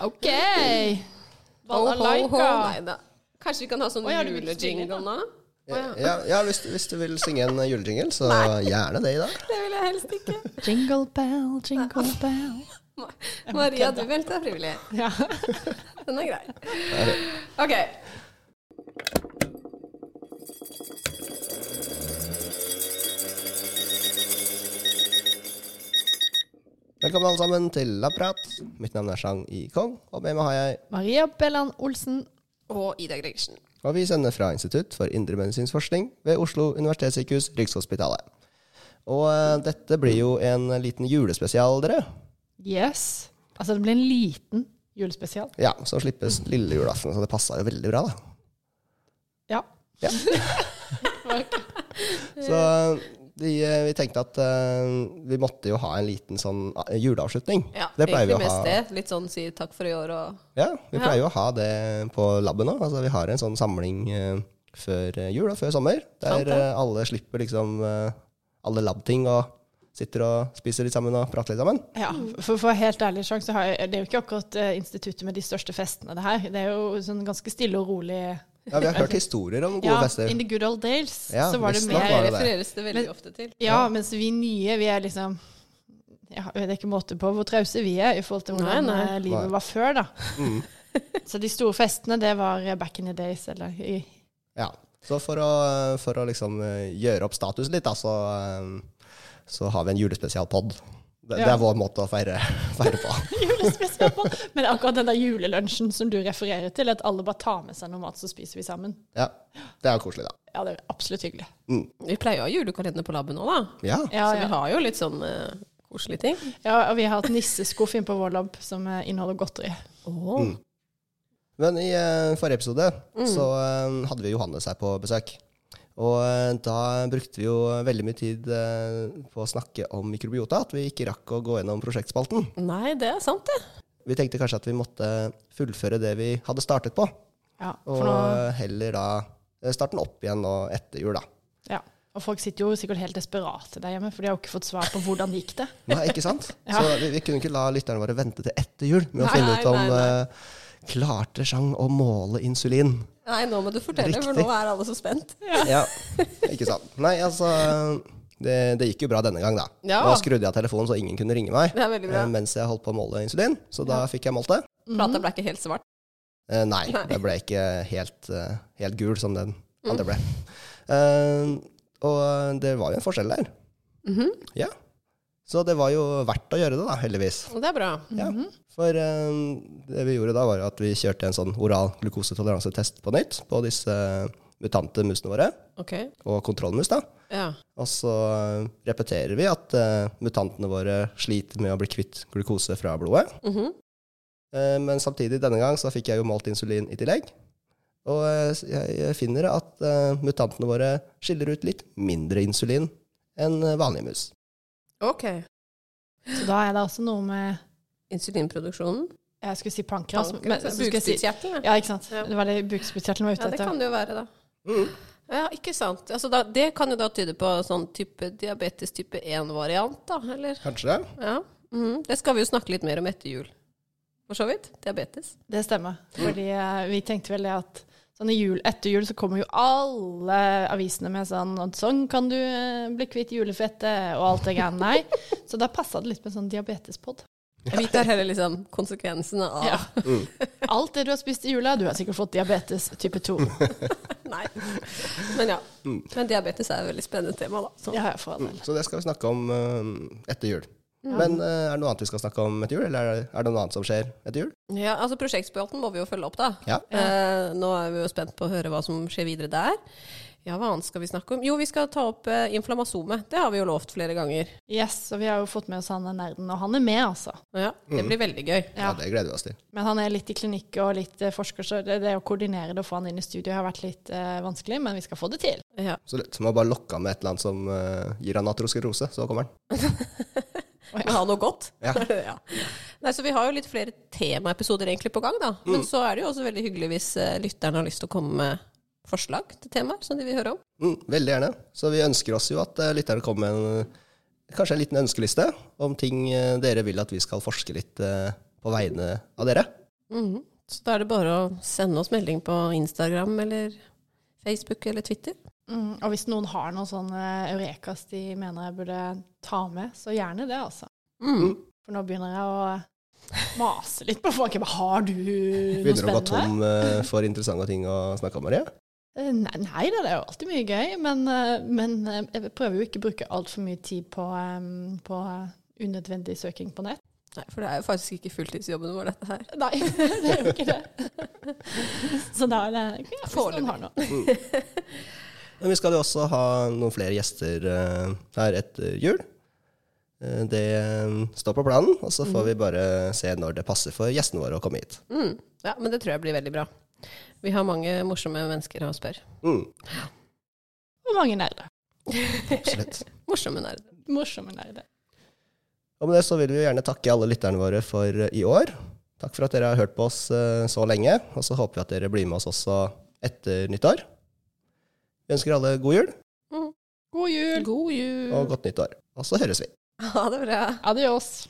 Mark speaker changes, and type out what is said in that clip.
Speaker 1: OK.
Speaker 2: Balalaika.
Speaker 3: Nei da. Kanskje vi kan ha sånn
Speaker 2: Oi, har du begynt å synge,
Speaker 3: julejingle nå?
Speaker 4: Ja, ja hvis, hvis du vil synge en julejingle, så gjerne det i dag.
Speaker 3: Det vil jeg helst ikke.
Speaker 1: Jingle bell, jingle
Speaker 3: Ah.
Speaker 1: bell.
Speaker 3: Maria, du meldte deg frivillig.
Speaker 2: Ja.
Speaker 3: Den er grei. OK.
Speaker 4: Velkommen alle sammen til Lapprat. Mitt navn er Chang I. Kong, og med meg har jeg
Speaker 1: Maria Belland Olsen.
Speaker 3: Og Ida Gregersen.
Speaker 4: Og vi sender fra Institutt for indremedisinsk forskning ved Oslo universitetssykehus Rikshospitalet. Og eh, dette blir jo en liten julespesial, dere.
Speaker 2: Yes. Altså, det blir en liten julespesial.
Speaker 4: Ja, Som slippes lille julaften, så det passer jo veldig bra, da.
Speaker 2: Ja.
Speaker 4: Ja. Så de, eh, vi tenkte at eh, vi måtte jo ha en liten sånn eh, juleavslutning.
Speaker 3: Ja,
Speaker 4: det pleier vi
Speaker 3: egentlig
Speaker 4: å ha.
Speaker 3: mest det. Litt sånn si takk for i år og
Speaker 4: Ja, vi pleier jo å ha det på labben òg. Altså, vi har en sånn samling eh, før eh, jul og før sommer, der
Speaker 3: Sant det.
Speaker 4: eh, alle slipper liksom eh, alle labting og sitter og spiser litt sammen og prater litt sammen.
Speaker 2: ja. Mm. For, for helt ærlig, Sjang, så har jeg, det er jo ikke akkurat eh, instituttet med de største festene, det her. Det er jo sånn ganske stille og rolig.
Speaker 4: Ja, Vi har hørt historier om gode
Speaker 2: Ja,
Speaker 4: fester.
Speaker 2: in the good old days
Speaker 4: Ja,
Speaker 2: så var det
Speaker 4: visst nok var
Speaker 2: mer
Speaker 4: det det.
Speaker 3: refereres det veldig
Speaker 2: Men-
Speaker 3: ofte til.
Speaker 2: Ja, mens vi nye, vi er liksom ja, Det er ikke måte på hvor trause vi er i forhold til hvordan
Speaker 3: Nei, nei.
Speaker 2: eh, livet
Speaker 4: Nei. Mm.
Speaker 2: var før, da. så de store festene, det var eh, back in the days, eller i
Speaker 4: Ja. Så for å, for å liksom eh, gjøre opp status litt, da, så, eh, så har vi en julespesialpod. Det, det
Speaker 2: Ja.
Speaker 4: er vår måte å feire, feire på.
Speaker 2: julespesialen. Men akkurat den der julelunsjen som du refererer til, at alle bare tar med seg noe mat, så spiser vi sammen.
Speaker 4: Ja, Det er jo koselig, da. Mm.
Speaker 2: Ja, det er absolutt hyggelig.
Speaker 3: Vi pleier å ha julekalender på laben òg, da.
Speaker 4: Ja.
Speaker 2: Ja,
Speaker 3: Så vi
Speaker 2: ja.
Speaker 3: har jo litt sånn eh, koselige ting.
Speaker 2: ja og vi har hatt nisseskuff inne på vår lab som eh, inneholder godteri.
Speaker 3: Mm.
Speaker 4: Mm. Men i eh, forrige episode så eh, hadde vi Johannes her på besøk. Og eh, da brukte vi jo veldig mye tid eh, på å snakke om mikrobiota, at vi ikke rakk å gå gjennom prosjektspalten.
Speaker 3: Nei, det er sant, det.
Speaker 4: Vi tenkte kanskje at vi måtte fullføre det vi hadde startet på,
Speaker 2: Ja,
Speaker 4: og
Speaker 2: for nå,
Speaker 4: eh, heller da eh, starte den opp igjen nå etter jul, da.
Speaker 2: ja. Og folk sitter jo sikkert helt desperate der hjemme, for de har jo ikke fått svar på hvordan gikk det.
Speaker 4: Nei, ikke sant?
Speaker 2: Ja.
Speaker 4: Så vi, vi kunne ikke la lytterne våre vente til etter jul med å
Speaker 3: Nei,
Speaker 4: finne ut om
Speaker 3: nei, nei.
Speaker 4: eh, Klarte Chang å måle insulin?
Speaker 3: Nei, nå må du fortelle, for
Speaker 4: Riktig.
Speaker 3: nå er alle så spent.
Speaker 4: Ja, ikke sant. Nei, altså det, det gikk jo bra denne gang, da.
Speaker 3: Ja.
Speaker 4: Nå skrudde jeg av telefonen så ingen kunne ringe meg
Speaker 3: Det er veldig bra.
Speaker 4: eh, mens jeg holdt på å måle insulin, så da fikk jeg målt det.
Speaker 2: Mhm.
Speaker 3: Plata ble ikke helt svart.
Speaker 4: Eh, nei,
Speaker 3: Nei. Mm.
Speaker 4: det ble ikke helt, eh, helt gul som den andre ble. Eh, og det var jo en forskjell der.
Speaker 3: Mhm.
Speaker 4: Ja. Så det var jo verdt å gjøre det, da, heldigvis.
Speaker 3: Og det er bra.
Speaker 4: Ja. For eh, det vi gjorde da, var jo at vi kjørte en sånn oral glukosetoleransetest på nytt på disse mutante musene våre,
Speaker 3: Ok.
Speaker 4: og kontrollmus, da.
Speaker 3: Ja.
Speaker 4: Og så eh, repeterer vi at eh, mutantene våre sliter med å bli kvitt glukose fra blodet.
Speaker 3: Mhm.
Speaker 4: Eh, men samtidig, denne gang, så fikk jeg jo målt insulin i tillegg. Og eh, s- jeg jeg finner at eh, mutantene våre skiller ut litt mindre insulin enn eh, vanlige mus.
Speaker 3: Ok.
Speaker 2: Så da er det altså noe med
Speaker 3: Insulinproduksjonen.
Speaker 2: Jeg skulle si pankras, men så skulle jeg si
Speaker 3: Bukspyttkjertelen.
Speaker 2: Ja, ikke sant.
Speaker 3: Ja.
Speaker 2: Det var det bukspyttkjertelen var
Speaker 3: Ja,
Speaker 2: ute
Speaker 3: det
Speaker 2: etter.
Speaker 3: kan det jo være, da.
Speaker 4: Mm.
Speaker 3: Ja, ikke sant. Altså, da, det kan jo da tyde på sånn type diabetes type 1-variant, da, eller?
Speaker 4: Kanskje det?
Speaker 3: Ja. Mhm. Det skal vi jo snakke litt mer om etter jul. For så vidt. Diabetes.
Speaker 2: Det stemmer. Fordi eh, vi tenkte vel det at sånn i jul, etter jul så kommer jo alle avisene med sånn at sånn kan du eh, bli kvitt julefettet og alt det greiene. Nei. Så da passa det litt med sånn diabetespod.
Speaker 3: Vi tar heller liksom konsekvensene av
Speaker 2: Ja. Alt det du har spist i jula, du har sikkert fått diabetes type 2.
Speaker 3: Nei. Men ja. Men diabetes er et veldig spennende tema, da. Så.
Speaker 2: Ja, ja, for all del.
Speaker 4: Så det skal vi snakke om eh, etter jul. Men eh, er det noe annet vi skal snakke om etter jul, eller er det- er det noe annet som skjer etter jul?
Speaker 3: Ja, altså Prosjektspalten må vi jo følge opp, da.
Speaker 4: Ja.
Speaker 3: Eh, nå er vi jo spent på å høre hva som skjer videre der. Ja, hva annet skal vi snakke om? Jo, vi skal ta opp eh, inflammasomet. Det har vi jo lovt flere ganger.
Speaker 2: Yes, og vi har jo fått med oss han er nerden, og han er med, altså.
Speaker 3: Ja, Det
Speaker 4: Mm.
Speaker 3: blir veldig gøy.
Speaker 4: Ja, det gleder vi oss til.
Speaker 2: Men han er litt i klinikk og litt eh, forsker, så det, det å koordinere det og få han inn i studio har vært litt eh, vanskelig, men vi skal få det til.
Speaker 3: Ja.
Speaker 4: Absolutt. Så må bare lokke han med et eller annet som eh, gir han atrosklerose, så kommer han.
Speaker 3: Men ha noe godt.
Speaker 4: Ja.
Speaker 3: Ja. Nei, så vi har jo litt flere temaepisoder egentlig på gang, da. Men
Speaker 4: Mm.
Speaker 3: så er det jo også veldig hyggelig hvis eh, lytterne har lyst til å komme med forslag til temaer som de vil høre om.
Speaker 4: Mm, veldig gjerne. Så vi ønsker oss jo at eh, lytterne kommer med en, kanskje en liten ønskeliste om ting eh, dere vil at vi skal forske litt eh, på eh, vegne av dere.
Speaker 3: Mhm. Så da er det bare å sende oss melding på Instagram eller Facebook eller Twitter.
Speaker 2: Mm, og hvis noen har noen sånne eurekas de mener jeg burde ta med, så gjerne det, altså.
Speaker 3: Mm.
Speaker 2: For nå begynner jeg å mase litt på folk. Jeg bare, har du noe
Speaker 4: Begynner å gå
Speaker 2: spennende?
Speaker 4: tom eh, for interessante ting å snakke om, Marie.
Speaker 2: Eh, Nei, nei da, det er jo alltid mye gøy, men, eh, men eh, jeg prøver jo ikke å bruke altfor mye tid på, eh, på eh, unødvendig søking på nett.
Speaker 3: Nei, for det er jo faktisk ikke fulltidsjobben vår, dette her.
Speaker 2: Nei, det er jo ikke det. Så da er det ja, hvis noen har noe.
Speaker 4: Mm. Men vi skal jo også ha noen flere gjester eh, her etter jul. Eh, Det eh, står på planen, og så får vi bare se når det passer for gjestene våre å komme hit.
Speaker 3: Mm. Ja, men det tror jeg blir veldig bra. Vi har mange morsomme mennesker å spørre.
Speaker 4: Mm,
Speaker 2: Og mange nerder.
Speaker 4: absolutt.
Speaker 3: Morsomme nerder.
Speaker 2: Morsomme nerder.
Speaker 4: Og med det så vil vi jo gjerne takke alle lytterne våre for eh, i år. Takk for at dere har hørt på oss eh, så lenge, og så håper vi at dere blir med oss også etter nyttår. Vi ønsker alle god jul
Speaker 2: God jul!
Speaker 3: Mm. God jul!
Speaker 4: og godt nyttår. Og så høres vi.
Speaker 3: Ha det bra!
Speaker 2: Adios!